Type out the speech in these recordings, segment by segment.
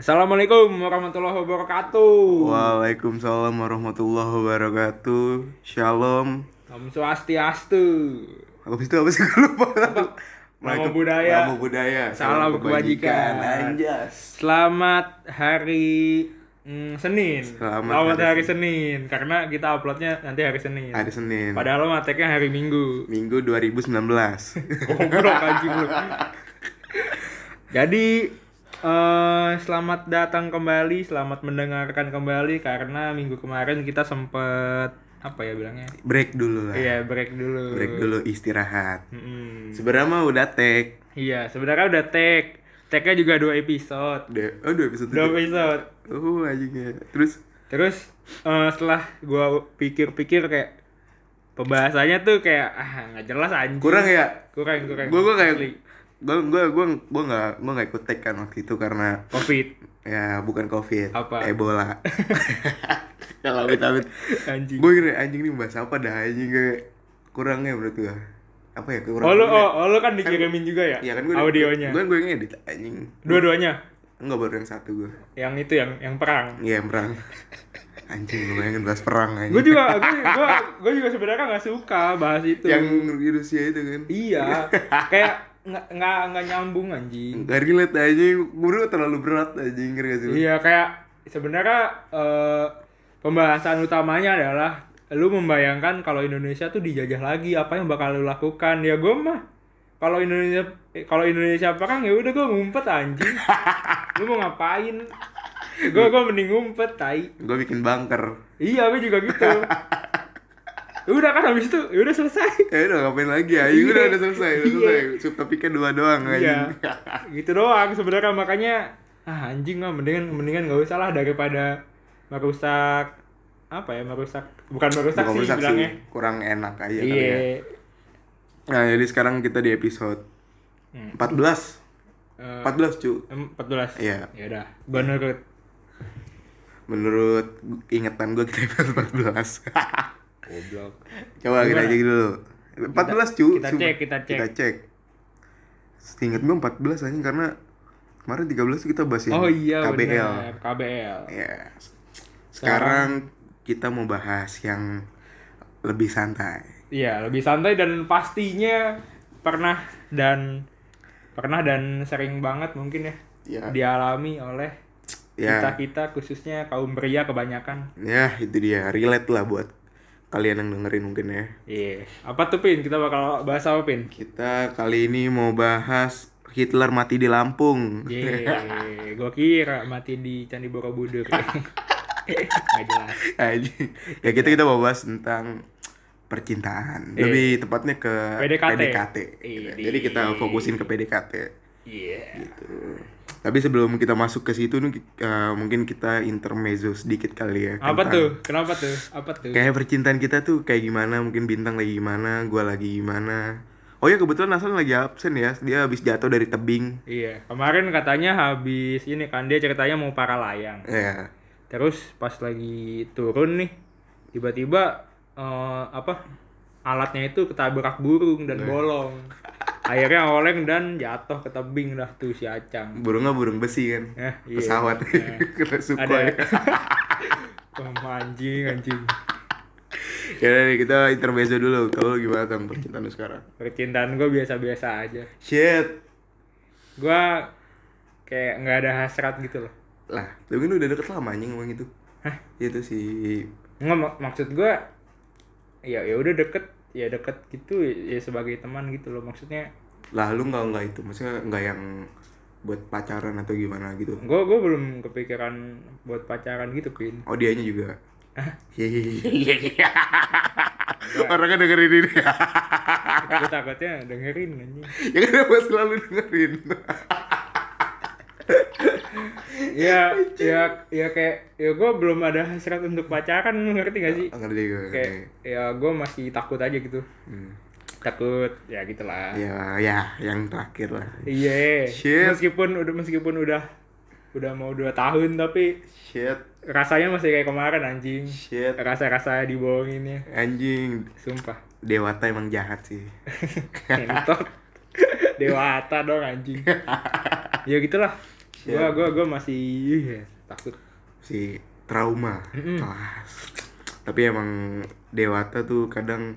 Assalamualaikum warahmatullahi wabarakatuh. Waalaikumsalam warahmatullahi wabarakatuh. Shalom. Om Swastiastu. Habis itu apa sih gue lupa. Namo budaya. Namo budaya. Salam kebajikan. Anjas. Selamat hari mm, Senin. Selamat hari, hari Senin karena kita uploadnya nanti hari Senin. Hari Senin. Padahal mateknya hari Minggu. Oh, Minggu 2019. Goblok anjing lu. Jadi eh, selamat datang kembali, selamat mendengarkan kembali karena minggu kemarin kita sempet apa ya bilangnya? Break dulu lah. Iya, break dulu. Nah. Break dulu istirahat. Mm-mm. Sebenarnya mah udah tag. Iya, sebenarnya udah tag. Tagnya juga dua episode. De- oh, dua episode. Dua episode. Oh, anjingnya. Terus Terus eh, setelah gua pikir-pikir kayak pembahasannya tuh kayak ah nggak jelas anjing. kurang ya? kurang kurang. Gue gue kayak Asli. gue gue gue gue nggak gue nggak ikut tag kan waktu itu karena covid ya bukan covid Apa? ebola Ya, kalau amit anjing. gue kira anjing nih bahas apa dah anjing kayak kurangnya menurut gue apa ya Oh kurang lu, oh, oh, lu kan dikirimin juga ya? ya kan gue audionya. gue gue ngedit anjing Dua-duanya. enggak baru yang satu gue Yang itu yang yang perang. iya yang perang anjing gue pengen bahas perang anjing Gue juga gue gua, gua juga sebenarnya nggak suka bahas itu. yang di Rusia itu kan Iya. kayak nggak nggak nggak nyambung anjing. Gak relate anjing, menurut gue terlalu berat anjing ngerti gak sih lu? Iya kayak sebenarnya eh, pembahasan utamanya adalah lu membayangkan kalau Indonesia tuh dijajah lagi apa yang bakal lu lakukan ya gue mah kalau Indonesia eh, kalau Indonesia perang ya udah gue ngumpet anjing lu mau ngapain gue gue mending ngumpet tai Gue bikin bunker iya gue juga gitu udah kan habis itu ya udah selesai Ya udah ngapain lagi anjing, udah Iya. udah selesai, udah Iya. selesai Subtopiknya dua doang anjing iya gitu doang sebenarnya makanya ah anjing mah mendingan mendingan gak usah lah daripada merusak apa ya merusak bukan merusak Bukan sih rusak bilangnya sih, kurang enak aja kali iya ya. Nah, jadi sekarang kita di episode Hmm. 14. Eh, 14, cu. empat belas Iya. ya udah menurut Menurut ingetan gue kita episode 14. goblok Coba kita Gimana? cek dulu. 14, cu. kita Sumpah. cek, kita cek. Kita cek. Seinget gue 14 aja karena kemarin 13 kita bahas yang oh iya KBL. benar KBL Iya. Sekarang kita mau bahas yang lebih santai. iya lebih santai dan pastinya pernah dan pernah dan sering banget mungkin ya Ya. dialami oleh kita Ya. kita khususnya kaum pria kebanyakan Ya, itu dia. Relate lah buat kalian yang dengerin mungkin ya. Iya. Apa tuh Pin? Kita bakal bahas apa Pin? Kita kali ini mau bahas Hitler mati di Lampung. Ye, gua kira mati di Candi Borobudur. Nggak jelas. Anjing. ya kita kita mau bahas tentang percintaan. Iya. Lebih tepatnya ke PDKT. gitu. Ini. Jadi kita fokusin ke PDKT. Iya. gitu. Tapi sebelum kita masuk ke situ nih, eh, mungkin kita intermezzo sedikit kali ya. Apa tentang tuh? Kenapa tuh? Apa tuh? Kayak percintaan kita tuh kayak gimana? Mungkin bintang lagi gimana? Gua lagi gimana? Oh ya kebetulan Hasan lagi absen ya. Dia habis jatuh dari tebing. Iya. Kemarin katanya habis ini kan dia ceritanya mau para layang. Ya. Terus pas lagi turun nih, tiba-tiba eh, apa? Alatnya itu ketabrak burung Nah. dan bolong. Akhirnya oleng dan jatuh ke tebing dah tuh si Acang. Burungnya burung besi kan. Eh, iya. pesawat Ada. kena Sukhoi Oh, anjing, anjing. ya udah nih, kita intermezzo dulu kalau gimana tentang percintaan lu sekarang percintaan gue biasa-biasa aja shit gue kayak nggak ada hasrat gitu loh lah tapi kan udah deket lama anjing ngomong itu hah itu si nggak mak- maksud gue ya ya udah deket ya deket gitu ya sebagai teman gitu loh maksudnya lah lu nggak nggak itu maksudnya nggak yang buat pacaran atau gimana gitu gue gue belum kepikiran buat pacaran gitu pin oh dianya juga Iya, Hehehe. Orangnya kan dengerin ini gue takutnya dengerin anjing Ya kan apa selalu dengerin ya ya ya kayak ya gue belum ada hasrat untuk pacaran ngerti gak sih Oh, Ngerti gue ngerti. kayak ya gue masih takut aja gitu Hmm. takut ya gitulah Ya, ya, yang terakhir lah Iya. Shit. Meskipun udah meskipun udah udah mau 2 tahun tapi Shit, rasanya masih kayak kemarin anjing. shit Rasa-rasa dibohonginnya. Anjing, Sumpah. Dewata emang jahat sih. Entot. Dewata dong anjing. ya gitulah. Shit. Gua gua gua masih ih, ya, takut. si trauma kelas tapi emang dewata tuh kadang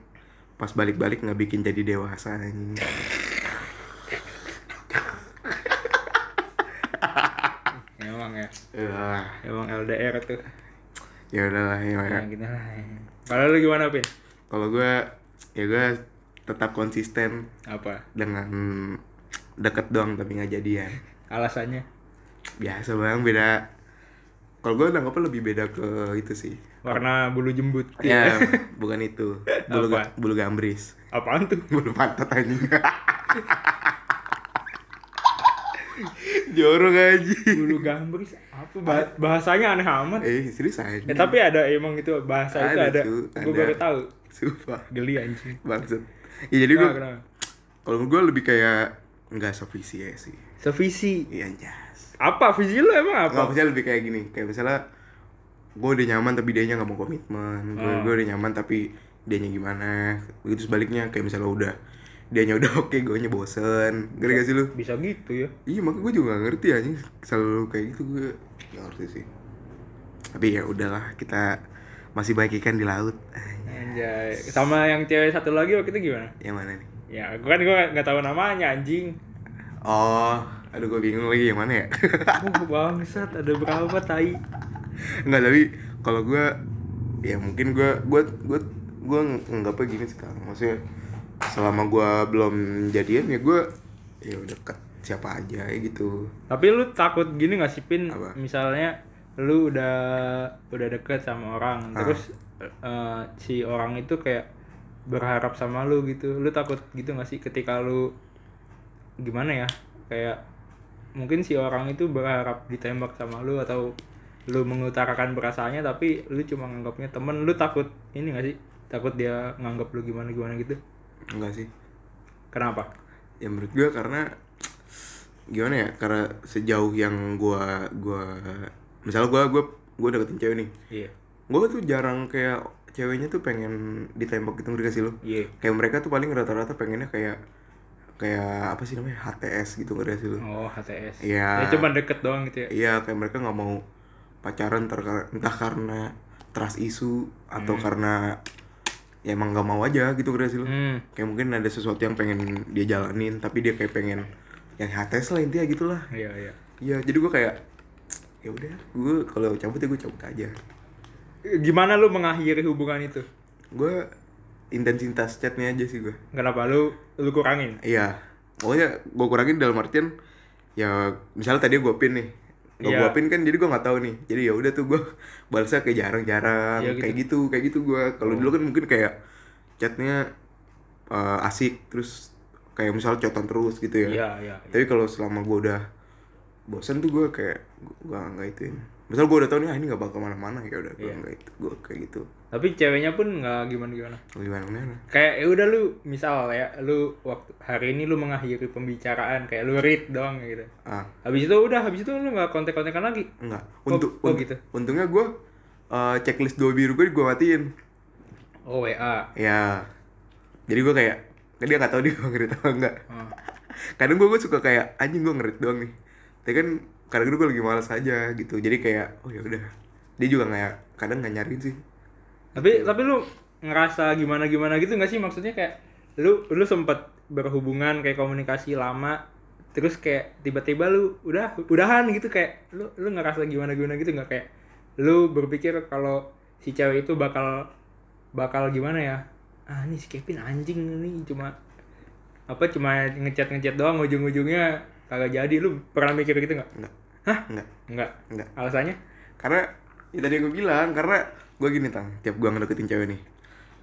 pas balik-balik nggak bikin jadi dewasa anjing. Emang ya. Yah, Emang LDR tuh. ya udahlah ya Ya Maya. gitu lah. Kalau lu gimana, Pin? kalau gue ya gue tetap konsisten Apa? dengan deket doang tapi nggak jadian Alasannya? biasa bang beda kalau gue nanggapnya lebih beda ke itu sih Warna bulu jembut. ya bukan itu bulu ga- bulu gambris Apaan tuh? bulu pantat anjing jorok anjing Bulu gambris apa bah- bahasanya aneh amat. eh serius aja Ya, tapi ada emang itu bahasa itu Ada, ada. cu, Gue ada. baru tahu. sumpah Geli anjing. maksud ya jadi gue Kenapa, kenapa? kalau gue lebih kayak nggak sevisi ya sih Sevisi. iya jas Apa visi lu emang apa? nggak misalnya lebih kayak gini kayak misalnya gue udah nyaman tapi dia nya nggak mau komitmen gue Hmm. gue udah nyaman tapi dia nya gimana begitu sebaliknya kayak misalnya udah dia nya udah oke gue nya bosen ngerti gak sih lu Bisa gitu ya. Iya makanya gue juga gak ngerti aja selalu kayak gitu gue gak ngerti sih. Tapi ya udahlah kita masih baik ikan di laut. Anjay. Sama yang cewek satu lagi waktu itu gimana? Yang mana nih? Ya, gua kan gua nggak tahu namanya anjing. Oh, aduh gue bingung lagi yang mana ya. Oh, bangsat, ada berapa tai? Enggak tapi kalau gue ya mungkin gue gue gue gue nggak gini sekarang. Maksudnya selama gue belum jadian ya gue ya udah deket siapa aja ya gitu. Tapi lu takut gini gak sih Pin? Apa? Misalnya lu udah udah deket sama orang, Ah. terus eh, si orang itu kayak berharap sama lu gitu. Lu takut gitu gak sih ketika lu gimana ya? Kayak mungkin si orang itu berharap ditembak sama lu atau lu mengutarakan perasaannya tapi lu cuma nganggapnya temen. Lu takut ini gak sih? Takut dia nganggap lu gimana gimana gitu. Enggak sih. Kenapa? ya menurut gue karena gimana ya karena sejauh yang gua gua misalnya gua gua gua deketin cewek nih Iya. gua tuh jarang kayak ceweknya tuh pengen ditembak gitu ngerti gak sih lo Iya. kayak mereka tuh paling rata-rata pengennya kayak kayak apa sih namanya HTS gitu ngerti gak sih lo Oh, HTS. Ya Iya. cuma deket doang gitu ya. iya kayak mereka nggak mau pacaran ter- entah karena trust isu atau karena ya emang nggak mau aja gitu ngerti gak sih lo Hmm. kayak mungkin ada sesuatu yang pengen dia jalanin tapi dia kayak pengen yang HTS lah intinya gitulah Iya, iya. Iya, jadi gue kayak ya udah, gue kalau cabut ya gue cabut aja. gimana lu mengakhiri hubungan itu? Gue intensitas chatnya aja sih gue. Kenapa lu lu kurangin? Iya, pokoknya gue kurangin dalam artian ya misalnya tadi gue pin nih, gue Iya. gua pin kan jadi gue nggak tahu nih. Jadi ya udah tuh gue balasnya kayak jarang-jarang, Iya, gitu. Oh. kayak gitu, kayak gitu gue. Kalau dulu kan mungkin kayak chatnya eh, asik, terus kayak misalnya cotan terus gitu ya. Iya, iya. tapi kalau selama gue udah bosan tuh gue kayak gue nggak ituin misal gue udah tau nih ah, ini nggak bakal mana-mana ya udah gue Iya. nggak itu gue kayak gitu Tapi ceweknya pun nggak gimana-gimana. gimana mana Kayak ya udah lu misal ya lu waktu hari ini lu mengakhiri pembicaraan kayak lu read doang gitu. ah Habis itu udah, habis itu lu nggak kontek-kontekan lagi. enggak Oh, untuk oh un- gitu. untungnya gue eh, checklist dua biru gue gue matiin Oh, WA. ya jadi gue kayak kan dia nggak tahu dia gue ngerit apa enggak Ah. kadang gue suka kayak anjing gue ngerit doang nih tapi kan kadang gue lagi malas aja gitu jadi kayak oh ya udah dia juga nggak kadang nggak nyariin sih Tapi tapi lu ngerasa gimana-gimana gitu nggak sih maksudnya kayak lu lu sempet berhubungan kayak komunikasi lama terus kayak tiba-tiba lu udah udahan gitu kayak lu lu ngerasa gimana-gimana gitu nggak kayak lu berpikir kalau si cewek itu bakal bakal gimana ya ah ini si Kevin anjing nih cuma apa cuma ngechat ngechat doang ujung-ujungnya kagak jadi lu pernah mikir gitu nggak enggak Hah? enggak nggak enggak alasannya karena ya tadi gue bilang karena gue gini tang tiap gue ngedeketin cewek nih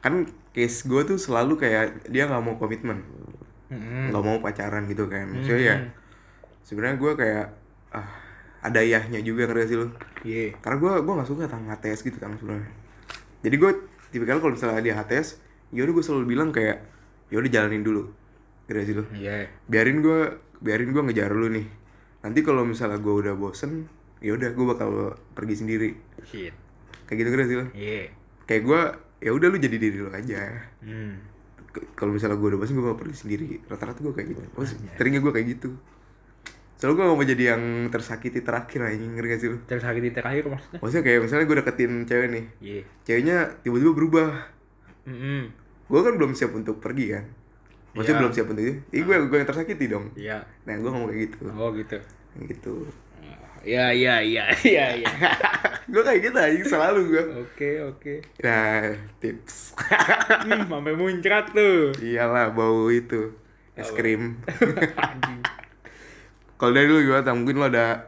kan case gue tuh selalu kayak dia nggak mau komitmen Mm-mm. nggak mau pacaran gitu kan maksudnya ya Hmm. sebenarnya gue kayak ah, ada yahnya juga ngerti gak sih lo Iya. karena gue gue nggak suka tang HTS gitu tang sebenarnya jadi gue tipikal kalau misalnya dia HTS yaudah gue ya selalu bilang kayak yaudah jalanin dulu ngerti gak sih lo Iya. biarin gue biarin gue ngejar lu nih nanti kalau misalnya gue udah bosen yaudah gue bakal pergi sendiri Shit. kayak gitu ngerti gak sih lo Iya. kayak gue ya udah lu jadi diri lu aja Hmm. K- kalau misalnya gue udah bosan gue mau pergi sendiri rata-rata gue kayak gitu oh, seringnya gue kayak gitu Soalnya gue gak mau jadi yang tersakiti terakhir anjing ngerti gak sih lu? Tersakiti terakhir maksudnya? Maksudnya kayak misalnya gue deketin cewek nih Iya. Ceweknya tiba-tiba berubah Mm-mm. Gue kan belum siap untuk pergi kan Maksudnya Iya. belum siap untuk itu Ih gue, gue yang tersakiti dong Iya. Nah gue ngomong kayak gitu Oh gitu. Gitu Ya ya ya ya ya. Gue kayak gitu anjing selalu gue Oke oke. Nah tips Hmm, sampai muncrat tuh. Iyalah bau itu Es Apa? krim Anjing. Kalau dari lu gimana? Tam? Mungkin lu ada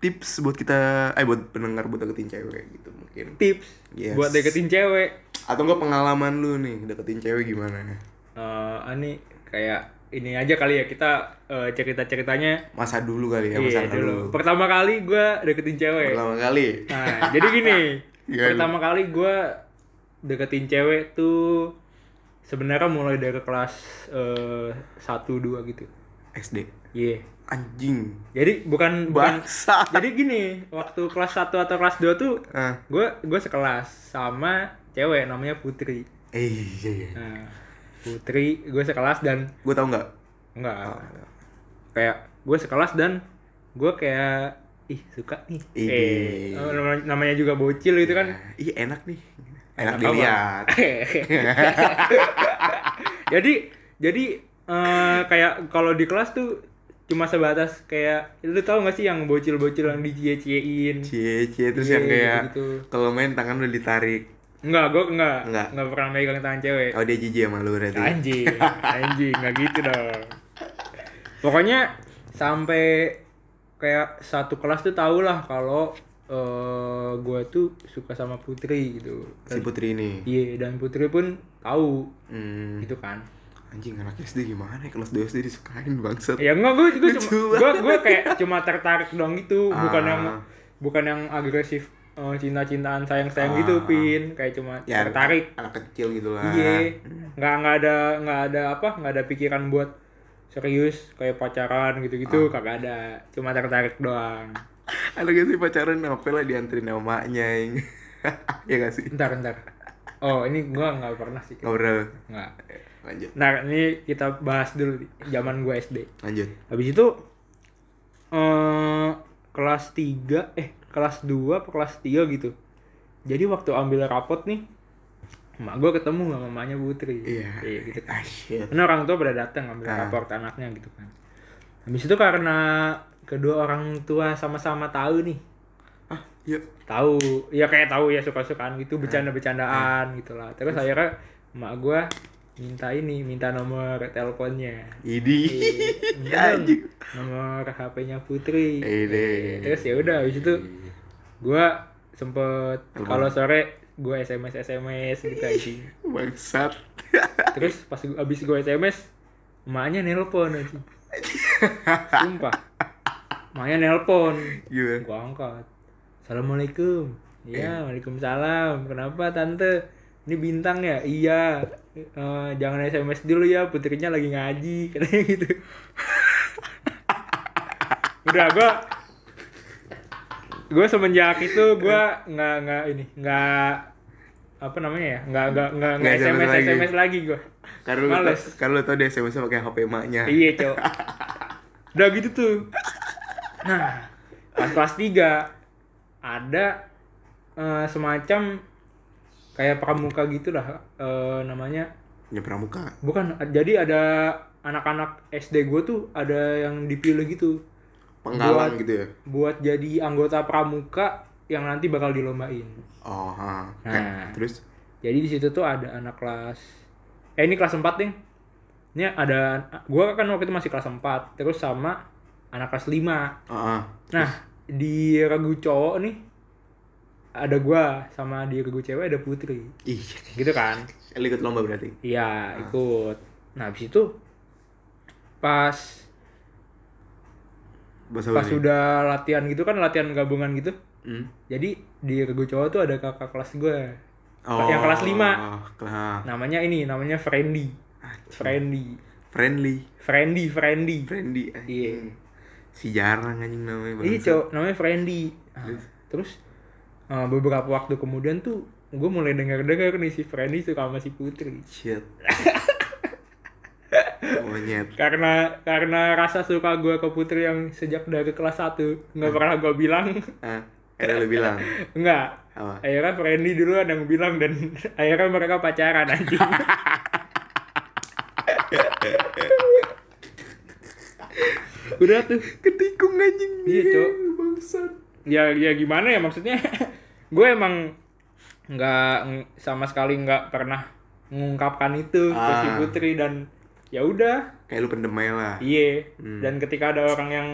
tips buat kita Eh buat pendengar buat deketin cewek gitu mungkin Tips Yes. buat deketin cewek. Atau enggak pengalaman lu nih deketin cewek gimana? Eh, ani kayak ini aja kali ya kita eh, cerita-ceritanya Masa dulu kali ya, masa Iya dulu. dulu. Pertama kali gue deketin cewek. Pertama kali. Nah, jadi gini, Gimana? pertama kali gue deketin cewek tuh sebenarnya mulai dari kelas eh, satu dua gitu. SD. Iya. Anjing. Jadi bukan bukan. Bangsa. Jadi gini, waktu kelas 1 atau kelas 2 tuh Ah. gue gue sekelas sama cewek namanya Putri. Eh, iya iya. Nah, Putri gue sekelas dan Gua tau enggak? enggak Oh. kayak gue sekelas dan gue kayak ih suka nih. Ih. Eh, namanya- namanya juga bocil gitu kan. Iya enak nih. Enak Apa? dilihat. jadi jadi eh, kayak kalau di kelas tuh cuma sebatas kayak lu tahu gak sih yang bocil-bocil yang dicie-ciein Cie cie terus Iya, yang kayak gitu-gitu. kalau main tangan udah ditarik. enggak gue enggak Enggak. enggak pernah megang tangan cewek Oh dia jijik sama lu berarti. anjing anjing enggak gitu dong pokoknya sampai kayak satu kelas tuh tau lah kalau eh gue tuh suka sama putri gitu Si Putri ini. iya dan putri pun tahu Hmm. gitu kan Anjing anak SD gimana ya? Kelas 2 SD disukain bangsat. ya enggak gue gue cuma Lucu gue gue kayak cuma tertarik dong gitu bukan Ah. yang bukan yang agresif eh, cinta-cintaan sayang-sayang Ah. gitu pin kayak cuma Ya, tertarik anak kecil gitu lah. iya nggak nggak ada nggak ada apa nggak ada pikiran buat serius kayak pacaran gitu-gitu kagak ada cuma tertarik doang Ada gak sih pacaran apa lah dianterin sama maknya yang ya gak sih? ntar ntar oh ini gue nggak pernah sih Ngobrol nggak Lanjut nah ini kita bahas dulu zaman gue sd Lanjut Habis itu eh kelas 3 eh kelas 2 apa kelas 3 gitu. Jadi waktu ambil rapot nih emak gue ketemu sama mamanya Putri. Iya. gitu. Ah shit Karena orang tua pada datang ambil Ah. raport anaknya gitu kan. Habis itu karena kedua orang tua sama-sama tahu nih Ah yuk tahu ya kayak tahu ya suka-sukaan gitu Ah. bercanda-bercandaan gitu lah terus akhirnya emak gue minta ini minta nomor teleponnya Idi Iya, Ya, Anjing nomor HP-nya Putri. Ini Terus ya udah habis itu gua sempet kalau sore gua SMS SMS gitu anjing. Bangsat Terus pas gua- abis gua SMS emaknya nelpon anjing. Sumpah. Emaknya nelpon. Gimana? Gua angkat. Assalamualaikum. Iya, Waalaikumsalam. Kenapa tante? Ini bintang ya? Iya. Eh, jangan SMS dulu ya, putrinya lagi ngaji katanya gitu. Udah gua gue semenjak itu gua nggak nggak ini nggak apa namanya ya nggak nggak nggak nggak Nggak SMS lagi. SMS lagi gua Karena lu Males. tau- Karena lu tau dia SMS -nya pakai HP maknya Iya, cowok. Udah gitu tuh. Nah, pas kelas 3 ada eh, semacam kayak pramuka gitu lah eh, namanya. Punya pramuka Bukan, jadi ada anak-anak SD gue tuh ada yang dipilih gitu Penggalan gitu ya buat jadi anggota pramuka yang nanti bakal dilombain. Oh ha Oke, Nah. Terus Jadi di situ tuh ada anak kelas eh ini kelas 4 nih. Ini ada gua kan waktu itu masih kelas 4, terus sama anak kelas 5. Ah ah. Nah, di regu cowok nih ada gua sama di regu cewek ada Putri. Ih Gitu kan? Lu ikut lomba berarti Iya, ikut. Nah, habis itu pas Bahasa pas Bali. udah latihan gitu kan latihan gabungan gitu. Hmm? Jadi di regu cowok tuh ada kakak kelas gua. Oh, Yang kelas lima. kelas Namanya ini, namanya Friendly. Friendly. Friendly Friendly, Friendly. Friendly anjing. Si jarang anjing Iya namanya bangsat. cowok namanya Friendly. Ah, terus eh, beberapa waktu kemudian tuh gue mulai dengar dengar nih si Friendly suka sama si Putri. Shit. monyet karena karena rasa suka gue ke putri yang sejak dari kelas 1 Hmm. nggak pernah gue bilang ah akhirnya lu bilang nggak apa akhirnya Frendy dulu ada yang bilang dan akhirnya mereka pacaran anjing udah tuh ketikung anjing Iya, Cok. bangsat ya ya gimana ya maksudnya gue emang nggak ng- sama sekali nggak pernah mengungkapkan itu ke si Ah. putri dan ya udah kayak lu pendem aja lah Iya. Hmm. Dan ketika ada orang yang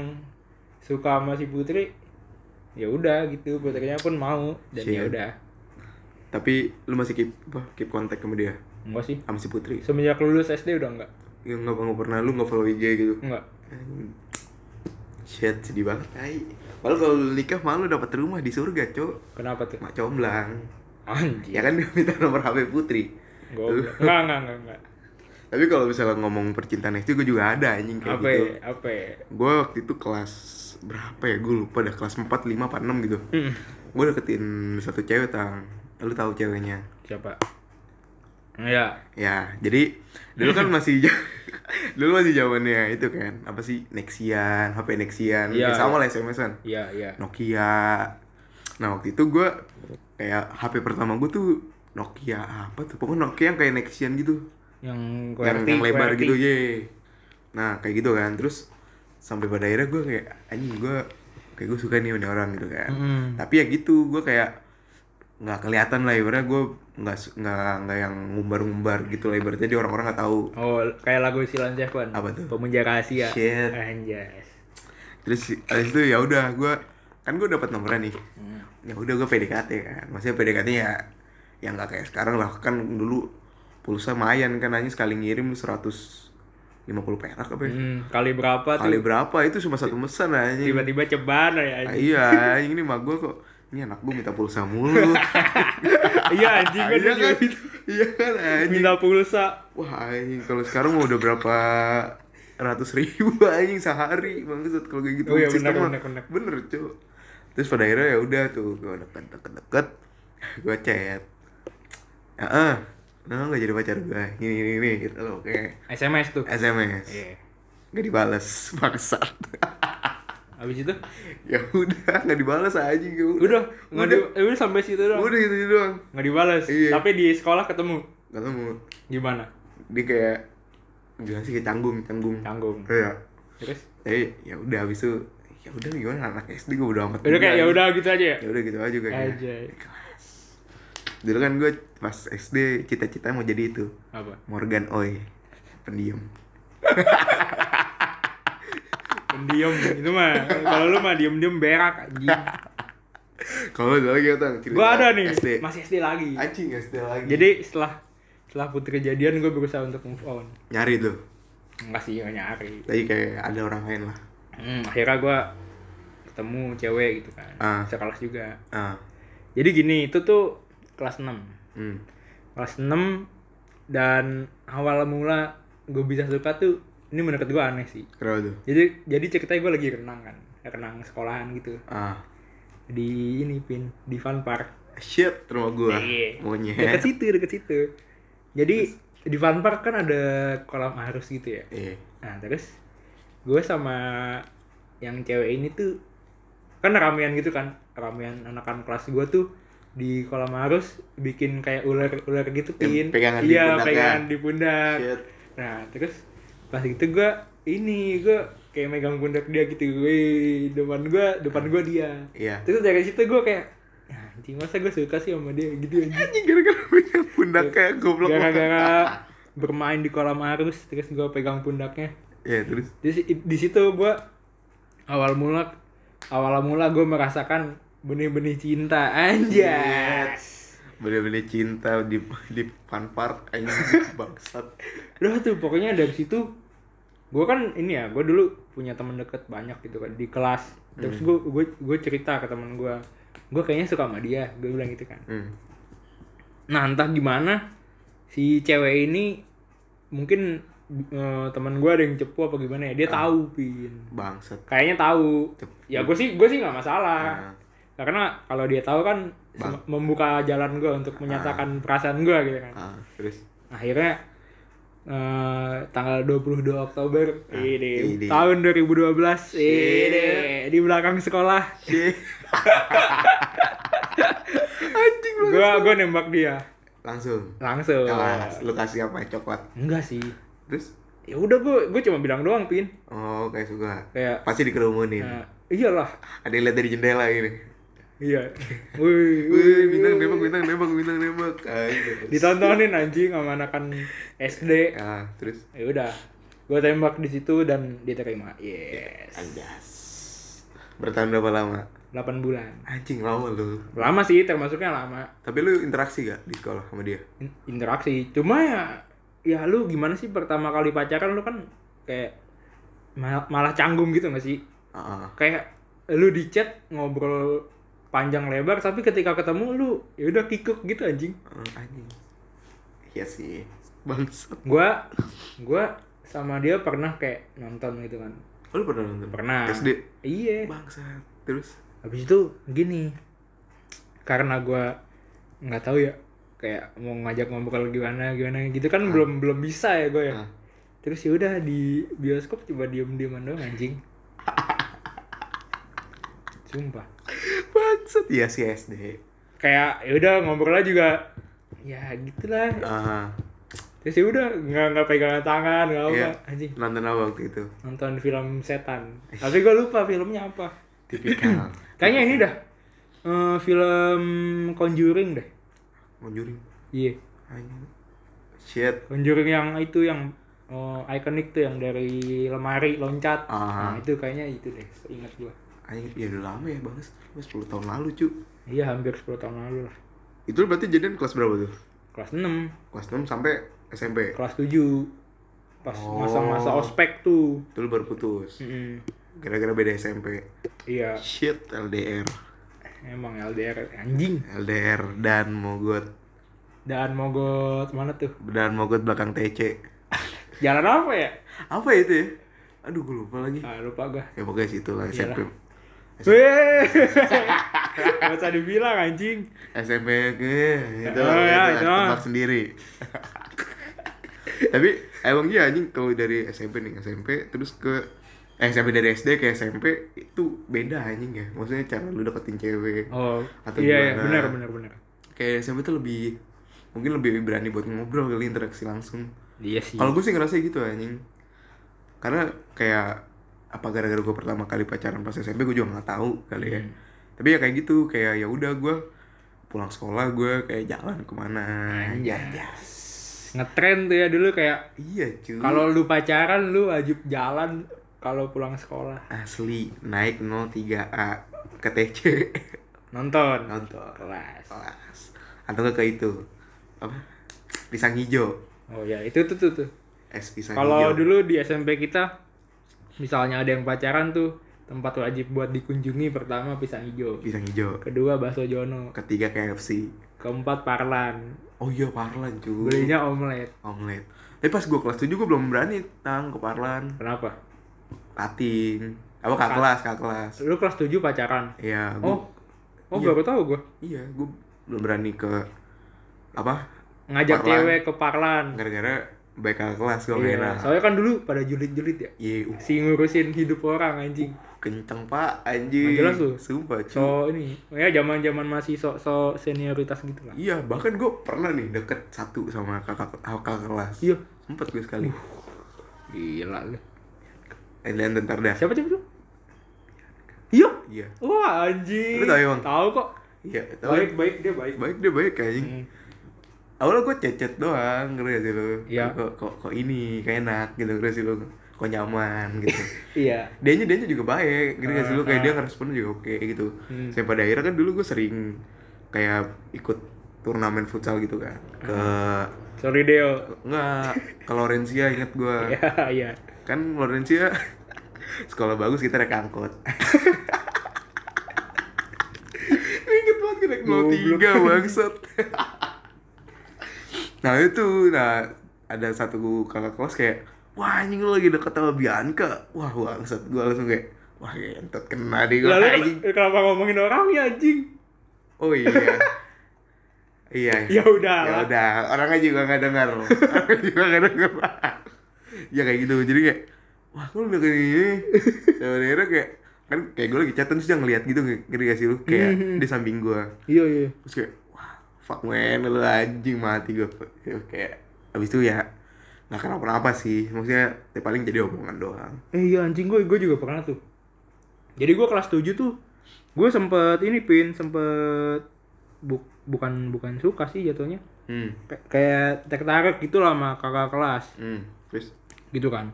suka sama si Putri, ya udah gitu. Putrinya pun mau dan Shit. ya udah. tapi lu masih keep apa, keep kontak sama dia Enggak sih. sama si putri Semenjak lulus SD udah enggak. yang nggak nggak pernah lu nggak follow IG gitu Enggak. Anjing. shit sedih banget tai Padahal kalau lu nikah malu dapat rumah di surga cok Kenapa tuh? mak comblang Anjir. ya kan dia minta nomor HP putri Goblok. Enggak, enggak, enggak, enggak. tapi kalau misalnya ngomong percintaan itu gue juga ada anjing kayak Apa gitu ya? Apa ya? gue waktu itu kelas berapa ya gue lupa dah kelas 4, 5, apa 6 gitu Mm. gue deketin satu cewek tang lu tahu ceweknya Siapa? Ya, ya jadi dulu kan masih dulu masih zamannya itu kan apa sih Nexian HP Nexian Iya. ya, sama lah SMS-an ya, ya. Nokia nah waktu itu gue kayak HP pertama gue tuh Nokia apa tuh pokoknya Nokia yang kayak Nexian gitu Yang yang, QWERTY, yang lebar QWERTY. gitu ye nah kayak gitu kan terus sampai pada akhirnya gue kayak anjing gue kayak gue suka nih sama orang gitu kan Mm-mm. tapi ya gitu gue kayak nggak kelihatan lah ibaratnya gue nggak su- nggak nggak yang ngumbar-ngumbar gitu lah ibaratnya jadi orang-orang nggak tahu Oh, kayak lagu Silan Seven. Apa tuh? Pemuja rahasia. Shit. Anjay. terus abis itu ya udah gue kan gue dapat nomornya nih Hmm. ya udah gue PDKT kan maksudnya PDKT ya yang nggak kayak sekarang lah kan dulu pulsa mayan kan hanya sekali ngirim 150 perak apa ya? Mm, kali berapa kali tuh? berapa itu cuma satu pesan aja Tiba-tiba ceban ya. Ah, anjing. iya ini mah gue kok ini anak gue minta pulsa mulu Iya, anjing kan iya dia kan iya kan anjing minta pulsa. wah anjing kalau sekarang mah udah berapa ratus ribu anjing sehari bangsat kalau kayak gitu Oh iya, benar, sistem mah. benar, benar. bener cuy terus pada akhirnya ya udah tuh gue deket deket deket gue chat ah ah, no nggak jadi pacar gue gini gini gini gitu loh kayak SMS tuh. sms Iya. nggak dibales bangsat Habis itu ya udah nggak dibales aja gitu udah nggak di udah eh, udah sampai situ doang. udah gitu doang Nggak dibalas. Iya. Tapi di sekolah ketemu. ketemu Gimana? dia kayak gila sih kayak canggung canggung Tanggung. iya Terus tapi ya udah habis itu ya udah gimana anak SD gue udah amat udah kayak juga. ya udah gitu aja ya. ya udah gitu aja kayaknya Aja. dulu kan gue pas SD cita-cita mau jadi itu Apa? Morgan Oi pendiam Pendiam itu mah. Kalau lu mah diem-diem berak anjing. kalau ada lagi tang cerita Gua ada nih, Gitu. SD masih SD lagi. anjing SD lagi Jadi setelah setelah putri kejadian gue berusaha untuk move on. nyari tuh Enggak sih, nggak nyari. tapi kayak ada orang lain lah Hmm, akhirnya gue ketemu cewek gitu kan. Ah. Sekelas juga. ah Jadi gini, itu tuh kelas 6. hmm. kelas 6 dan awal mula gue bisa suka tuh ini menurut gue aneh sih kenapa tuh jadi jadi ceritanya gue lagi renang kan renang sekolahan gitu ah di ini pin di fun park shit rumah gue Iya. deket monyet situ deket situ jadi di fun park kan ada kolam arus gitu ya iya nah terus gue sama yang cewek ini tuh kan ramean gitu kan ramean anakan kelas gue tuh di kolam arus bikin kayak ular-ular gitu pin Yang pegangan di iya pundak ya? pegangan di pundak shit Nah terus pas itu gue ini gue kayak megang pundak dia gitu, weh depan gue depan gue dia. iya Terus dari situ gue kayak "Ya, anjing masa gue suka sih sama dia gitu anjing. Anjing gara-gara punya pundak kayak goblok. Gara-gara bermain di kolam arus terus gue pegang pundaknya. Ya terus Terus i- di situ gue awal mula awal mula gue merasakan benih-benih cinta anjay. bener-bener cinta di di fun park anjing bangsat. Udah tuh pokoknya dari situ gue kan ini ya gue dulu punya teman deket banyak gitu kan di kelas terus gue gue gue cerita ke teman gue gue kayaknya suka sama dia gue bilang gitu kan Hmm. nah entah gimana si cewek ini mungkin eh, teman gue ada yang cepu apa gimana ya dia tahu pin Bangsat. kayaknya tahu Cepu. ya gue sih gue sih nggak masalah Nah, Ah. karena kalau dia tahu kan Ah. Bang. mem- membuka jalan gue untuk menyatakan perasaan gue gitu kan Ah, terus akhirnya eh, tanggal 22 Oktober Ah, ini Iya. ini. tahun 2012 ini di belakang sekolah Anjing lu. gua gua nembak dia Langsung. langsung Kelas. Lu kasih apa? Coklat. enggak sih Terus? ya udah gua gua cuma bilang doang pin Oh, kayak Nah. suka. kayak Pasti dikerumunin. eh, iyalah Ada yang lihat dari jendela gini. iya wih wih Wih, bintang nembak, bintang nembak, bintang nembak. Ah, gitu. ditontonin anjing sama anakan SD Ah, terus ya udah gua tembak di situ dan diterima yes anjas. Bertahan berapa lama? 8 bulan Anjing lama lu. lama sih termasuknya lama Tapi lu interaksi gak di sekolah sama dia? in- interaksi cuma ya ya lu gimana sih pertama kali pacaran lu kan kayak ma- malah canggung gitu gak sih Ah, ah. kayak lu di chat ngobrol panjang lebar tapi ketika ketemu lu ya udah kikuk gitu anjing Ah, anjing. Iya sih. Bangsat. gua gua sama dia pernah kayak nonton gitu kan Oh, Lu pernah nonton? Pernah. SD. iya Bangsat. Terus habis itu gini karena gua nggak tahu ya kayak mau ngajak ngobrol gimana gimana gitu kan belum belum bisa ya gue ya Ah. terus ya udah di bioskop coba diem dieman doang anjing sumpah bangsat. Iya sih SD. kayak ya udah ngobrol juga ya gitulah Ah, terus ya udah nggak nggak pegangan tangan nggak apa Iya. anjing nonton apa waktu itu? nonton film setan tapi gue lupa filmnya apa Tipikal. kayaknya ini dah eh, film Conjuring deh Monjuring. iya Anjing. Shit. Conjuring yang itu yang eh, ikonik tuh yang dari lemari loncat nah Ah. itu kayaknya itu deh ingat gue Anjing, ya udah lama ya banget. 10 tahun lalu, cu. iya hampir 10 tahun lalu lah Itu lu berarti jadian kelas berapa tuh? kelas 6 Kelas 6 sampai SMP. kelas 7 pas Oh. masa-masa ospek tuh Itu lu baru putus. Mm-mm. Gara-gara beda SMP. iya Shit, LDR. emang LDR anjing LDR dan mogot. dan mogot mana tuh Dan mogot belakang TC. jalan apa ya Apa ya itu ya? Aduh, gue lupa lagi. ah lupa gua Ya pokoknya situ lah SMP. Weh, gak usah dibilang anjing. SMP ke itu Oh, ya, itu itu lah, mah. tebak sendiri. Tapi emang iya anjing kalau dari SMP nih SMP terus ke eh, SMP dari SD ke SMP itu beda anjing ya. Maksudnya cara lu deketin cewek. Oh, Atau iya, iya, gimana? benar, benar, benar. Kayak SMP tuh lebih mungkin lebih berani buat ngobrol kali interaksi langsung. Iya sih. Kalau gue sih ngerasa gitu anjing. Karena kayak apa gara-gara gue pertama kali pacaran pas SMP gue juga nggak tahu Hmm. kali ya. Tapi ya kayak gitu kayak ya udah gue pulang sekolah gue kayak jalan kemana. Ya, ya. Ngetren tuh ya dulu kayak Iya cuy. kalau lu pacaran lu wajib jalan kalau pulang sekolah asli naik 03A ke TC nonton nonton kelas. kelas atau nggak ke itu apa pisang hijau Oh ya, itu tuh tuh tuh. es pisang Kalau hijau. dulu di SMP kita misalnya ada yang pacaran tuh tempat wajib buat dikunjungi pertama pisang hijau, pisang hijau kedua bakso jono, ketiga KFC keempat parlan, oh iya parlan cuy belinya omelet. omelet Oh, tapi pas gue kelas 7 gue belum berani tang ke parlan Kenapa? kating apa kak kelas kak kelas Lu kelas 7 pacaran. iya gue Oh. Oh, baru tahu gua. iya gue belum berani ke apa Ngajak Parlan. Iya, cewek ke parlan. gara-gara baik kakak kelas gue Iya, enak Soalnya kan dulu pada julid-julid ya. iya uh, Si ngurusin hidup orang anjing. kenceng pak anjing Majalah tuh. sumpah cuy So ini, ya zaman-zaman masih sok-sok senioritas gitu lah. Iya, bahkan gue pernah nih deket satu sama kakak kakak kelas. Iya. Uh. Sempet gue sekali. Gila lu. Eh, Dan ntar dah. Siapa siapa? siapa? Iya. Iya. Wah anjing. Lu tahu emang? Tahu kok. Iya, tapi Baik baik dia baik. baik dia baik anjing. Hmm. Awalnya gue cecet doang, ngerti gak sih lu? Iya. Kok, kok, kok ini, kayak enak gitu, ngerti gak sih lu? Kok nyaman gitu. Iya. dianya dianya juga baik, ngerti gak sih lu? Kayak Ah, dia ngerespon juga oke gitu. Hmm. Saya pada akhirnya kan dulu gue sering kayak ikut turnamen futsal gitu kan. Ke Ah. Sorry Deo. enggak ke Lorencia inget gue. Iya iya. kan Lorencia sekolah bagus kita naik angkot inget banget gue naik Goblok. 03 bangsat nah itu nah ada satu kakak kelas kayak wah anjing lu lagi deket sama Bianca wah bangsat gue langsung kayak wah ya, entot kena deh gue Lalu anjing kenapa ngomongin orang ya anjing? oh iya Iya. Ya udah. Ya udah, orangnya juga nggak dengar. Orangnya juga nggak dengar. ya kayak gitu. Jadi kayak wah, lu udah kayak gini. Sebenarnya kayak kan kayak gue lagi chat terus dia ngeliat gitu ngerti gak sih lu kayak Mhm. di samping gue Iya iya. terus kayak wah fuck man lu anjing mati gue kayak abis itu ya nggak kenapa-napa sih maksudnya ya paling jadi omongan doang Eh iya anjing gue gue juga pernah tuh. Jadi gue kelas 7 tuh gue sempet ini pin sempet bu- bukan bukan suka sih jatuhnya hmm Kay- kayak tertarik gitu lah sama kakak kelas hmm terus gitu kan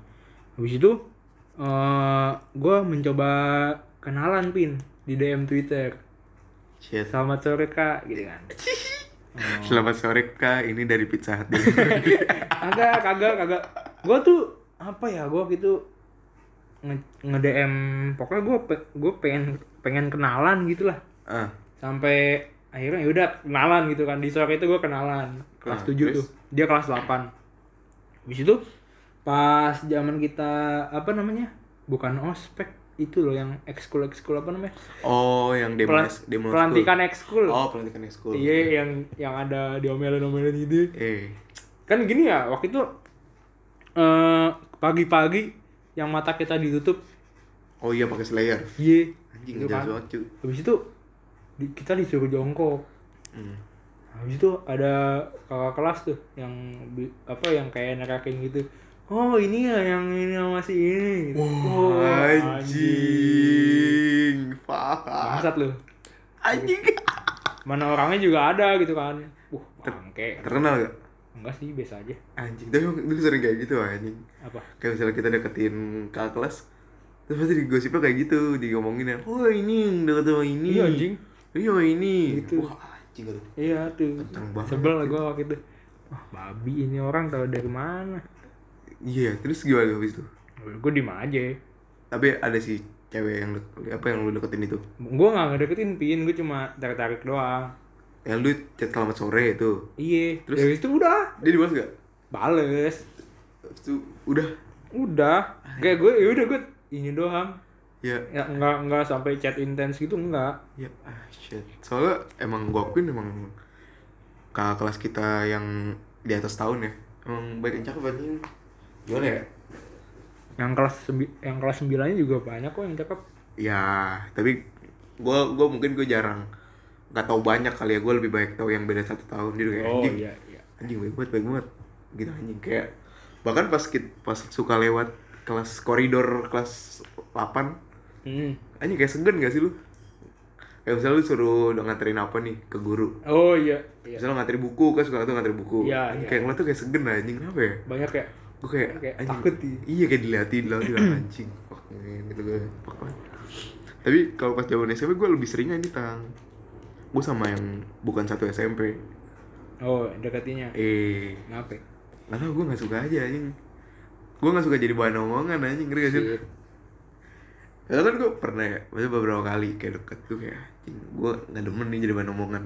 habis itu eh gue mencoba kenalan pin di DM Twitter shit selamat sore kak gitu kan selamat sore kak ini dari pizza hut kagak kagak kagak gue tuh apa ya gue gitu nge, DM pokoknya gue pe, gue pengen pengen kenalan gitu lah ah sampai akhirnya yaudah kenalan gitu kan di sore itu gue kenalan kelas Hmm, 7 terus? tuh dia kelas 8 habis itu pas zaman kita apa namanya bukan ospek itu loh yang ekskul ekskul apa namanya oh yang demo Pelan- demo school. pelantikan ekskul oh pelantikan school iya yang yang ada diomelin omelin gitu eh kan gini ya waktu itu eh pagi-pagi yang mata kita ditutup oh iya pakai slayer ye anjing Gitu gitu kan. banget cuy habis itu di- kita disuruh jongkok hmm. habis itu ada kakak kelas tuh yang bi- apa yang kayak nerakin gitu oh ini ya yang ini masih ini gitu. Wah, anjing fuck bangsat lu anjing mana orangnya juga ada gitu kan uh bangke terkenal gak enggak sih biasa aja anjing tapi emang dulu sering kayak gitu anjing apa kayak misalnya kita deketin kakak kelas terus pasti digosipnya kayak gitu digomongin ya oh ini yang deket sama ini Iya, anjing. iya sama ini Gitu. wah anjing aduh iya tuh Kenceng banget. sebel gue waktu itu wah babi ini orang tahu dari mana iya terus gimana habis itu gue diem aja tapi ada si cewek yang dek- apa yang lu deketin itu gue nggak ngedeketin pin gue cuma tarik tarik doang yang lu chat selamat sore itu iya Terus? terus dari itu udah dia dibalas gak bales Habis itu udah udah kayak gue ya udah gue ini doang ya ya nggak nggak sampai chat intens gitu nggak ya ah shit soalnya emang gua akuin emang kakak kelas kita yang di atas tahun ya emang baik yang cakep anjing gimana ya yang kelas sembi- yang kelas sembilannya juga banyak kok yang cakep ya tapi gue gua mungkin gue jarang nggak tahu banyak kali ya gue lebih baik tahu yang beda satu tahun dia kayak anjing iya anjing baik banget baik banget gitu anjing kayak bahkan pas kit- pas suka lewat kelas koridor kelas 8 hmm. anjing kayak segan gak sih lu kayak misalnya lu suruh udah nganterin apa nih ke guru oh iya iya misalnya nganterin buku kan suka tuh nganterin buku Iya, Anjing, iya. kayak ngeliat tuh kayak segan anjing kenapa ya banyak ya gue kayak, Kayak anjing, takut ya. iya kayak diliatin lah diliatin anjing fuck man gitu gue fuck man. tapi kalau pas zaman SMP gue lebih seringnya ini tang gue sama yang bukan satu SMP oh dekatinya eh kenapa ya? nggak tau gue nggak suka aja anjing gue nggak suka jadi bahan omongan anjing ngeri gak sih Shit. Padahal kan gue pernah ya, maksudnya beberapa kali kayak deket tuh kayak anjing gue nggak demen nih jadi bahan omongan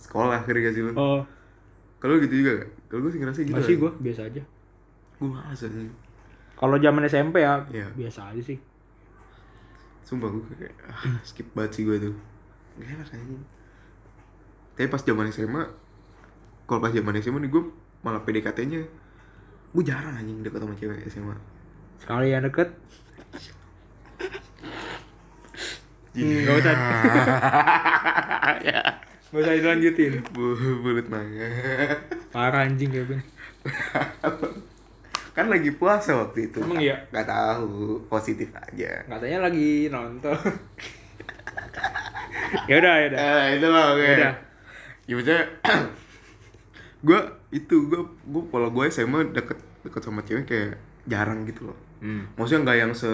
sekolah ngeri gak sih lu oh iya. kalau lu gitu juga gak? kalau gue sih ngerasa gitu masih gue biasa aja gue malas anjing kalau zaman SMP ya Iya. biasa aja sih Sumpah gue kayak ah, skip banget sih gue tuh. Gak enak anjing. Tapi pas zaman SMA, kalau pas zaman SMA nih gue malah PDKT-nya gue jarang anjing deket sama cewek SMA. sekali yang deket Iya. nggak usah. gak usah dilanjutin Ya. Bu- Bulut mangga. parah anjing Kevin kan lagi puasa waktu itu. Emang iya? Gak tahu, positif aja. katanya lagi nonton ya udah ya udah Eh, itu loh gue. Udah. Ya maksudnya gue itu gue gue kalau gue SMA deket deket sama cewek kayak jarang gitu loh. hmm Maksudnya nggak yang se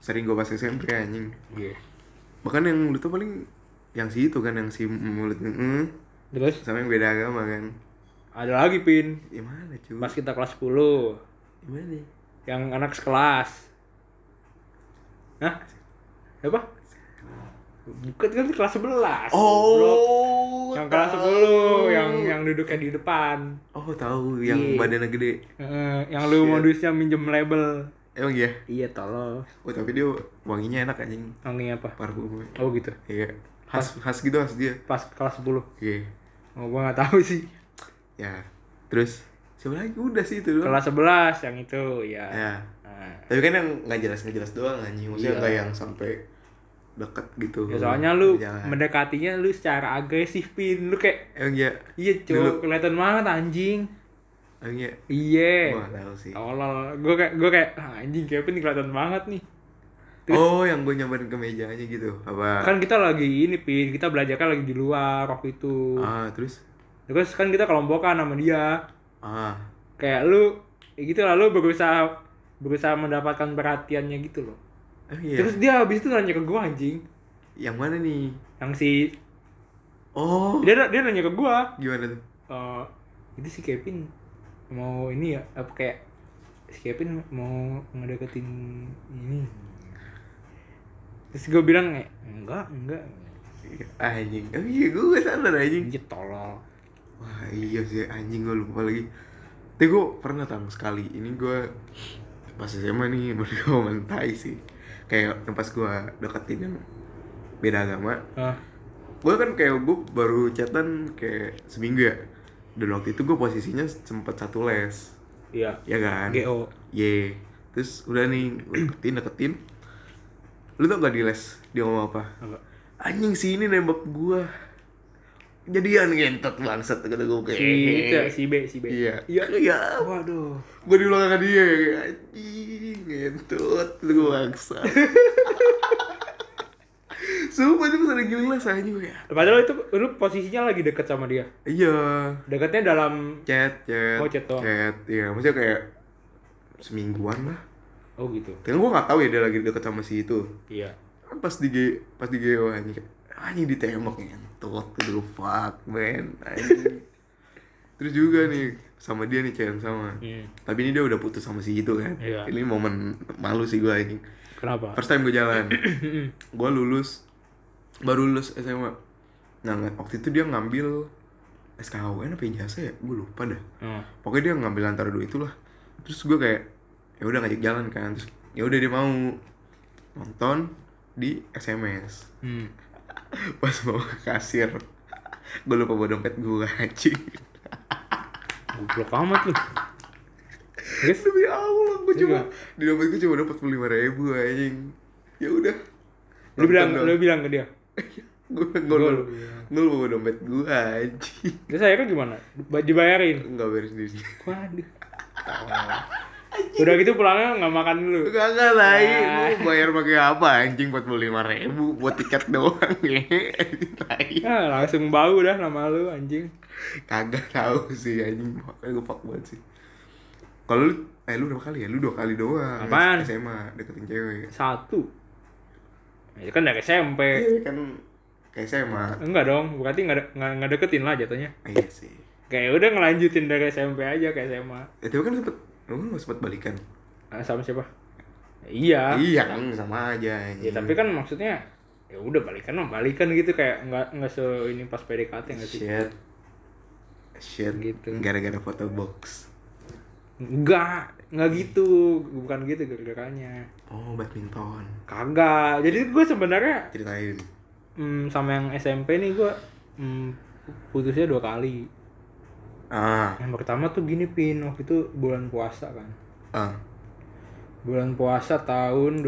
sering gue pas SMP anjing. iya Bahkan yang lu tuh paling yang si itu kan yang si mulut mm, terus sama yang beda agama kan. ada lagi pin Gimana cuy? pas kita kelas 10 Gimana? yang anak sekelas Hah? apa bukan kan kelas 11 goblok. Oh, yang kelas 10 tahu. yang yang duduknya di depan Oh tahu yang Iya. badannya gede. Eh, yang lu modusnya minjem label Emang iya. iya tolong Oh tapi dia wanginya enak anjing. Wangi apa Parfum. oh gitu Iya. Khas khas gitu khas dia. pas kelas 10 Iya. Oh, gua nggak tahu sih. ya terus siapa lagi udah sih itu doang Kelas 11 yang itu ya. ya Nah. tapi kan yang nggak jelas nggak jelas doang anjing maksudnya Iya. nggak yang sampai dekat gitu Ya soalnya lu Jangan. mendekatinya lu secara agresif pin. Lu kayak emang ya iya cowok Dulu- kelihatan banget anjing. emang ya Iya. Gua nggak tahu sih Tolol. Gue kayak gue kayak "Ah, anjing Kevin kelihatan banget nih. oh yang gue nyamperin ke mejanya gitu apa Kan kita lagi ini pin, kita belajar kan lagi di luar waktu itu. ah terus Terus kan kita kelompokan sama dia. ah Kayak lu ya gitu lah lu berusaha berusaha mendapatkan perhatiannya gitu loh. emang ya Terus dia habis itu nanya ke gua anjing. yang mana nih Yang si oh dia dia nanya ke gua, gimana tuh "Eh, itu si Kevin mau ini ya apa kayak si Kevin mau ngedeketin ini. Terus gua bilang kayak, enggak, enggak. anjing emang iya gue sadar anjing Anjir tolol. Wah iya sih anjing gue lupa lagi Tapi gue pernah tang sekali Ini gue pas SMA nih berdua sama mentai sih Kayak yang pas gue deketin yang beda agama Ah, Gue kan kayak gue baru chatan kayak seminggu ya Dan waktu itu gue posisinya sempet satu les iya. Ya kan? GO. Ye Terus udah nih gua deketin deketin Lu tau gak di les dia ngomong apa? Apa? Anjing sih ini nembak gua Jadian ngentot bangsat kata gue kayak Si itu ya, si B, si B. Iya. Iya. Iya. Waduh. Gue di belakang dia ya, kayak anjing ngentut lu bangsa. Sumpah itu sering gila anjing gue. Padahal itu lu posisinya lagi deket sama dia. Iya. Deketnya dalam Chat, chat. Oh, chat doang. Chat, iya. Maksudnya kayak semingguan lah. oh gitu. Kan gue gak tahu ya dia lagi deket sama si itu. Iya. Kan Pas di G- pas di GO anjing kayak anjing ditembak ngentut lu fuck man. Anjing. Terus juga nih sama dia nih chat yang sama. Hmm. Tapi ini dia udah putus sama si itu kan. Iya. Ini momen malu sih gue ini. Kenapa? Hmm. First time gue jalan. gue lulus baru lulus SMA. Nah, nggak- waktu itu dia ngambil SKWN apa ijazah ya? Gue lupa dah. Hmm. Pokoknya dia ngambil antara dua itulah. Terus gue kayak ya udah ngajak jalan kan. Terus ya udah dia mau nonton di SMS. Hmm. Pas mau ke kasir. gue lupa bawa dompet gue anjing. Goblok amat lu. Terus Demi Allah, gue cuma Iya. di dompet gue cuma dapat lima ribu anjing. Ya udah. lu bilang lu bilang ke dia. gue Gua gue lu bilang. gue bawa dompet gue anjing. Terus akhirnya kan gimana? Ba- Dibayarin. Enggak beres di sini. Waduh. Udah gitu pulangnya nggak makan dulu. Kagak lain, Ah. lu bayar pakai apa anjing buat beli lima ribu buat tiket doang ya. Tai. Ya, langsung bau dah nama lu anjing. Kagak tahu sih anjing, makanya gue fuck banget sih. Kalau lu, eh lu berapa kali ya? Lu dua kali doang. Apaan? SMA deketin cewek. Satu. Ya, Itu kan dari SMP. Iya kan kayak SMA. Enggak dong, berarti nggak de- nggak nggak deketin lah jatuhnya. Ah, Iya sih. Kayak udah ngelanjutin dari SMP aja kayak SMA. Ya, tapi kan sempet, lu kan sempet balikan. Ah, sama siapa? Ya, iya. Iya kan sama aja. Ya tapi kan maksudnya ya udah balikan dong, balikan gitu kayak nggak nggak se ini pas PDKT nggak sih? shit, shit kan- Gitu. Gara-gara foto box. Enggak, enggak gitu, bukan gitu gara-garanya. Oh badminton. Kagak. Jadi gue sebenarnya Ceritain. mm, sama yang SMP nih gue mm, putusnya dua kali. Ah, Yang pertama tuh gini pin waktu itu bulan puasa kan. ah, Bulan puasa tahun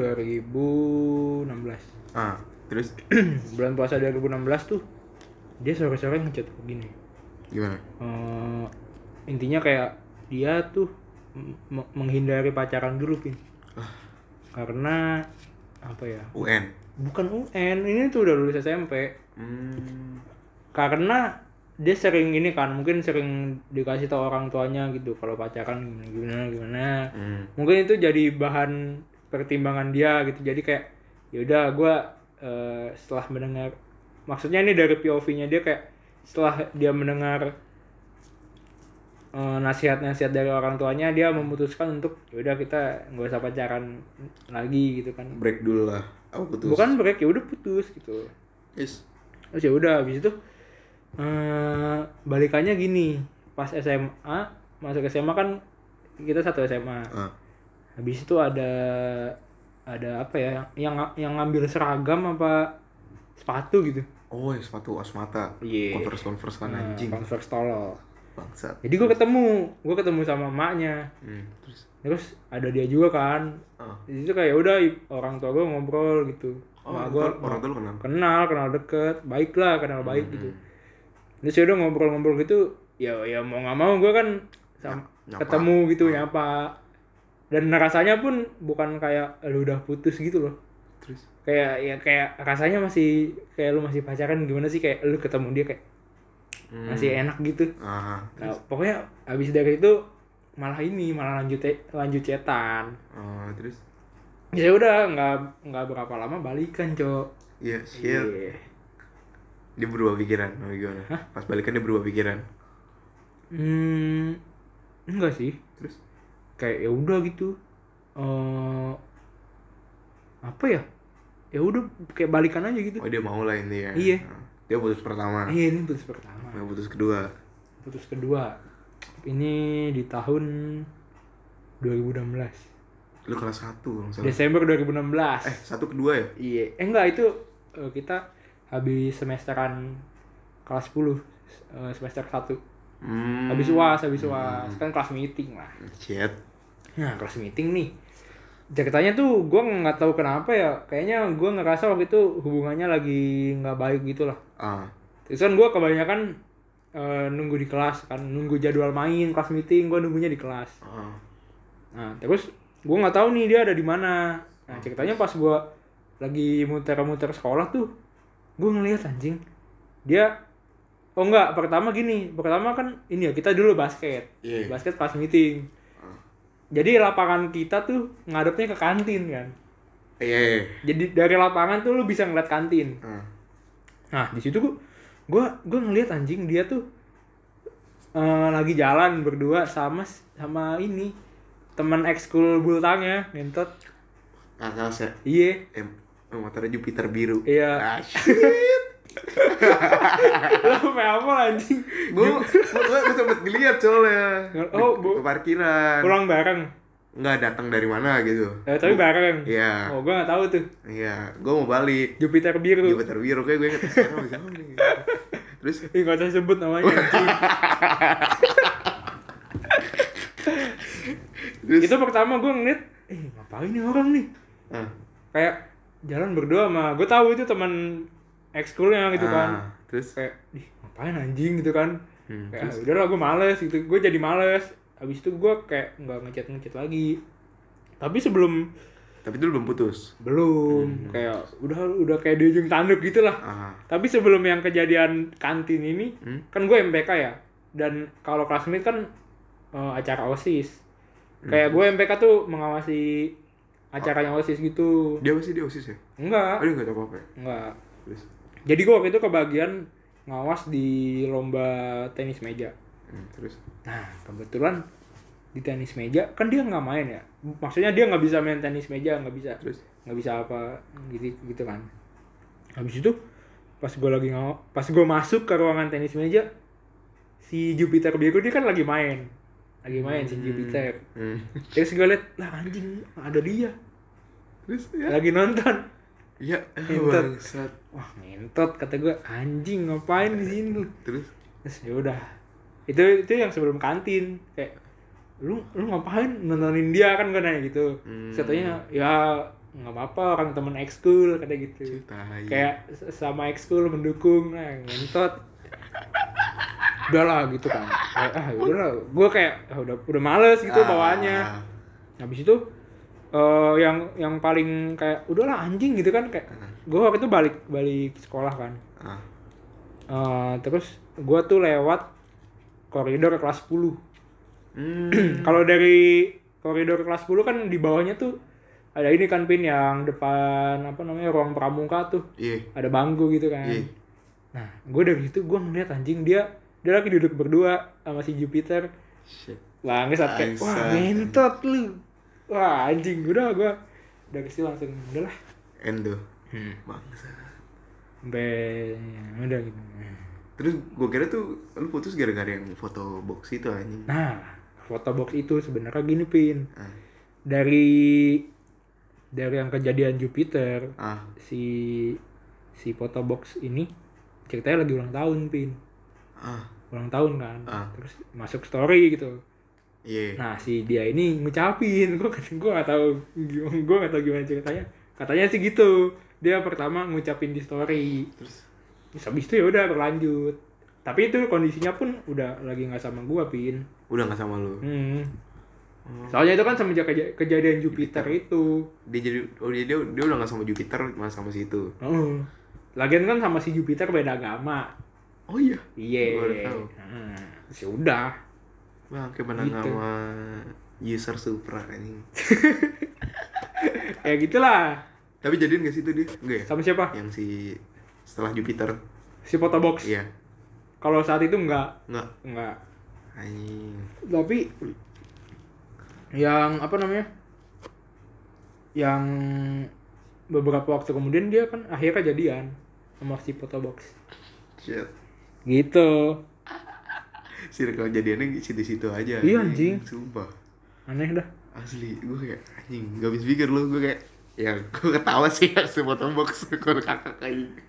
2016. ah. Terus bulan puasa 2016 tuh dia sore-sore ngechat gue gini. gimana? Eh, intinya kayak dia tuh m- m- menghindari pacaran dulu pin karena apa ya UN. bukan UN ini tuh udah lulus SMP Hmm. karena dia sering ini kan mungkin sering dikasih tau orang tuanya gitu kalau pacaran gimana gimana gimana Hmm. mungkin itu jadi bahan pertimbangan dia gitu jadi kayak yaudah gua eh, setelah mendengar maksudnya ini dari POV-nya dia kayak setelah dia mendengar eh, nasihat-nasihat dari orang tuanya dia memutuskan untuk yaudah kita nggak usah pacaran lagi gitu kan Break dulu lah. Apa putus? bukan break ya udah putus gitu Yes. terus ya udah habis itu eh balikannya gini pas SMA masuk SMA kan kita satu SMA Ah. habis itu ada ada apa ya yang yang ngambil seragam apa sepatu gitu oh ya sepatu asmata Iya. converse converse kan Nah, anjing Converse tolol. bangsat Jadi gue ketemu, gue ketemu sama emaknya. hmm, terus Terus ada dia juga kan. ah. Di situ kayak udah i- orang tua gue ngobrol gitu. oh, Emak orang gue tua- orang tua lu kenal kenal, kenal deket, baik lah, kenal baik gitu. Terus ya udah ngobrol-ngobrol gitu, ya ya mau nggak mau gue kan sam- Ya, nyapa. ketemu gitu nyapa. Dan rasanya pun bukan kayak lu udah putus gitu loh. terus Kayak ya kayak rasanya masih kayak lu masih pacaran gimana sih kayak lu ketemu dia kayak Hmm. masih enak gitu. ah Nah, pokoknya abis dari itu malah ini malah lanjut lanjut cetan. ah, terus Ya udah nggak nggak berapa lama balikan cok. iya shit Iya. dia berubah pikiran oh, gimana pas balikan dia berubah pikiran Hmm, enggak sih. terus Kayak ya udah gitu. Eh apa ya? Ya udah kayak balikan aja gitu. oh dia mau lah intinya Iya. Ah. dia putus pertama Iya ini putus pertama. dia putus kedua Putus kedua. Ini di tahun 2016. lu kelas satu kalau nggak salah. Desember 2016. eh satu kedua ya Iya, eh, enggak itu eh, kita habis semesteran kelas 10 eh, semester 1. hmm. Habis UAS, habis UAS. Kan kelas meeting lah. shit Nah, kelas meeting nih. Jakartanya tuh gua nggak tahu kenapa ya, kayaknya gua ngerasa waktu itu hubungannya lagi nggak baik gitu lah. ah Terus kan gua kebanyakan eh, nunggu di kelas kan, nunggu jadwal main, kelas meeting, gua nunggunya di kelas. ah Nah, terus gue nggak tahu nih dia ada di mana. Nah, ceritanya pas gue lagi muter-muter sekolah tuh, gue ngeliat anjing. Dia oh enggak, pertama gini, pertama kan ini ya kita dulu basket. Iya. Basket pas meeting. Ah. Jadi lapangan kita tuh ngadepnya ke kantin kan. iya iya. Jadi dari lapangan tuh lu bisa ngeliat kantin. ah Nah, di situ gua gua gua ngeliat anjing dia tuh eh, lagi jalan berdua sama sama ini teman ekskul bultangnya ngentot. akal saya Iya. eh motornya Jupiter biru Iya. ah shit Lah apa anjing? gua gua gua sempet ngeliat soalnya Oh, Di- bu- ke parkiran Pulang bareng. nggak datang dari mana gitu Eh, tapi bareng. iya Oh, gua gak tahu tuh. iya gua mau balik Jupiter biru. Jupiter biru Iya, kayak gue inget sekarang bisa nih terus Ih, gak usah sebut namanya. anjing. terus Itu pertama gua ngeliat, eh ngapain nih orang nih? ah Kayak jalan berdua sama gua tahu itu teman ekskulnya gitu kan. Ah, terus Kayak, ih, ngapain anjing gitu kan. Hmm, Kayak, ah, udah lah gue males gitu. Gue jadi males. Habis itu gue kayak nggak ngechat-ngechat lagi. Tapi sebelum tapi dulu belum putus Hmm, belum kayak udah udah kayak di ujung tanduk gitu lah. ah Tapi sebelum yang kejadian kantin ini, Hmm. kan gue MPK ya. Dan kalau classmate kan eh, acara OSIS. Hmm. Kayak gue MPK tuh mengawasi acaranya OSIS gitu. dia masih di osis ya Enggak, Oh. aduh nggak tahu apa ya enggak. terus Jadi gue waktu itu kebagian ngawas di lomba tenis meja. hmm, terus Nah, kebetulan di tenis meja kan dia nggak main ya. Maksudnya dia nggak bisa main tenis meja, nggak bisa terus nggak bisa apa gitu gitu kan. Habis itu pas gue lagi ngaw pas gue masuk ke ruangan tenis meja si Jupiter biru dia kan lagi main lagi main si Jupiter hmm. terus gue liat lah anjing ada dia terus ya lagi nonton ya eh, Entar. bangsat wah ngentot kata gue anjing ngapain di sini lu?" terus terus ya udah itu itu yang sebelum kantin kayak lu lu ngapain nontonin dia kan gue nanya gitu Hmm. Terus katanya ya nggak apa-apa orang temen ekskul kata gitu Cih, tai. kayak s- sama ekskul mendukung nah ngentot udahlah gitu kan kayak, ah udahlah gue kayak ah, udah udah males gitu Ah. bawaannya habis itu eh, yang yang paling kayak udahlah anjing gitu kan kayak gue waktu itu balik balik sekolah kan ah Eh, terus gue tuh lewat koridor kelas 10 hmm. kalau dari koridor kelas 10 kan di bawahnya tuh ada ini kan pin yang depan apa namanya ruang pramuka tuh iya ada bangku gitu kan Iya. nah gue dari situ gue ngeliat anjing dia dia lagi duduk berdua sama si Jupiter shit Wah, saat kayak, wah Angsat. ngentot lu. Wah, anjing, udah gue dari situ langsung, udah lah. endo Hmm. bangsa Sampai, udah gitu. terus gue kira tuh lu putus gara-gara yang foto box itu anjing Nah, foto box itu sebenarnya gini, Pin. ah Dari dari yang kejadian Jupiter, ah si si foto box ini ceritanya lagi ulang tahun pin ah ulang tahun kan Ah. terus masuk story gitu iya nah si dia ini ngucapin gue gue gak tahu gimana gue gak tahu gimana ceritanya katanya sih gitu dia pertama ngucapin di story terus terus habis itu ya udah berlanjut tapi itu kondisinya pun udah lagi nggak sama gue pin udah nggak sama lu Hmm. Oh. Soalnya itu kan semenjak keja- kejadian Jupiter itu. dia jadi oh dia dia, dia udah nggak sama Jupiter malah sama si itu Heeh. Lagian kan sama si Jupiter beda agama. oh iya Iya. Gua udah tahu. Heeh. Ya udah. bang kayak menang Gitu. sama user Supra ini Ya gitulah. tapi jadian gak sih itu dia enggak ya Sama siapa? yang si setelah Jupiter Si Photobox. iya Kalau saat itu enggak nggak enggak. anjing Tapi yang apa namanya? Yang beberapa waktu kemudian dia kan akhirnya jadian sama si Photobox. shit Gitu. circle jadiannya situ-situ aja Iya, anjing. sumpah Aneh dah. asli gue kayak anjing gak habis pikir lu gue kayak ya gue ketawa sih ya semua tembok sekor kakak kayak gitu.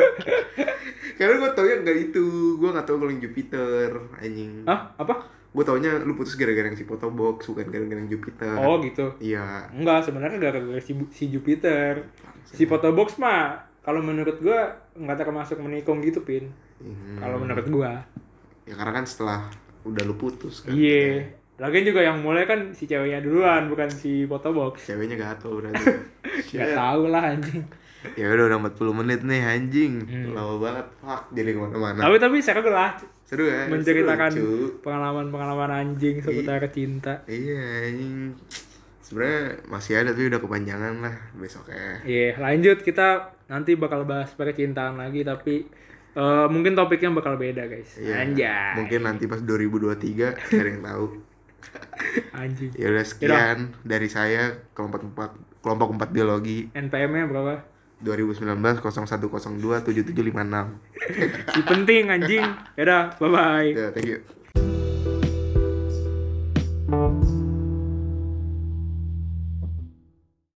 karena gue tau yang gak itu gue gak tau kalau yang Jupiter anjing Hah? Apa? gue taunya lu putus gara-gara yang si Photobox bukan gara-gara yang Jupiter Oh, gitu. iya Enggak, sebenarnya gara-gara si, si Jupiter. Si photobox mah kalau menurut gua nggak termasuk menikung gitu, Pin. Hmm. Kalau menurut gua. ya karena kan setelah udah lu putus kan Iya. Lagian juga yang mulai kan si ceweknya duluan, bukan si photobox. ceweknya gatel berarti Gak Shit. tau lah anjing. ya udah udah 40 menit nih anjing Hmm. lama banget fuck jadi kemana-mana Tapi tapi seru lah Nah. seru ya menceritakan seru, cu. pengalaman-pengalaman anjing seputar cinta. Iya, anjing. Sebenarnya masih ada tapi udah kepanjangan lah besoknya. Iya, lanjut kita nanti bakal bahas percintaan lagi tapi eh, mungkin topiknya bakal beda, guys. Iya. Anjay. Mungkin nanti pas 2023 gak ada yang tahu. anjing. Ya udah sekian dari saya kelompok 4 kelompok 4 biologi NPM-nya berapa? 2019 0102 7756. Si penting anjing. Yaudah, bye-bye. Ya, thank you.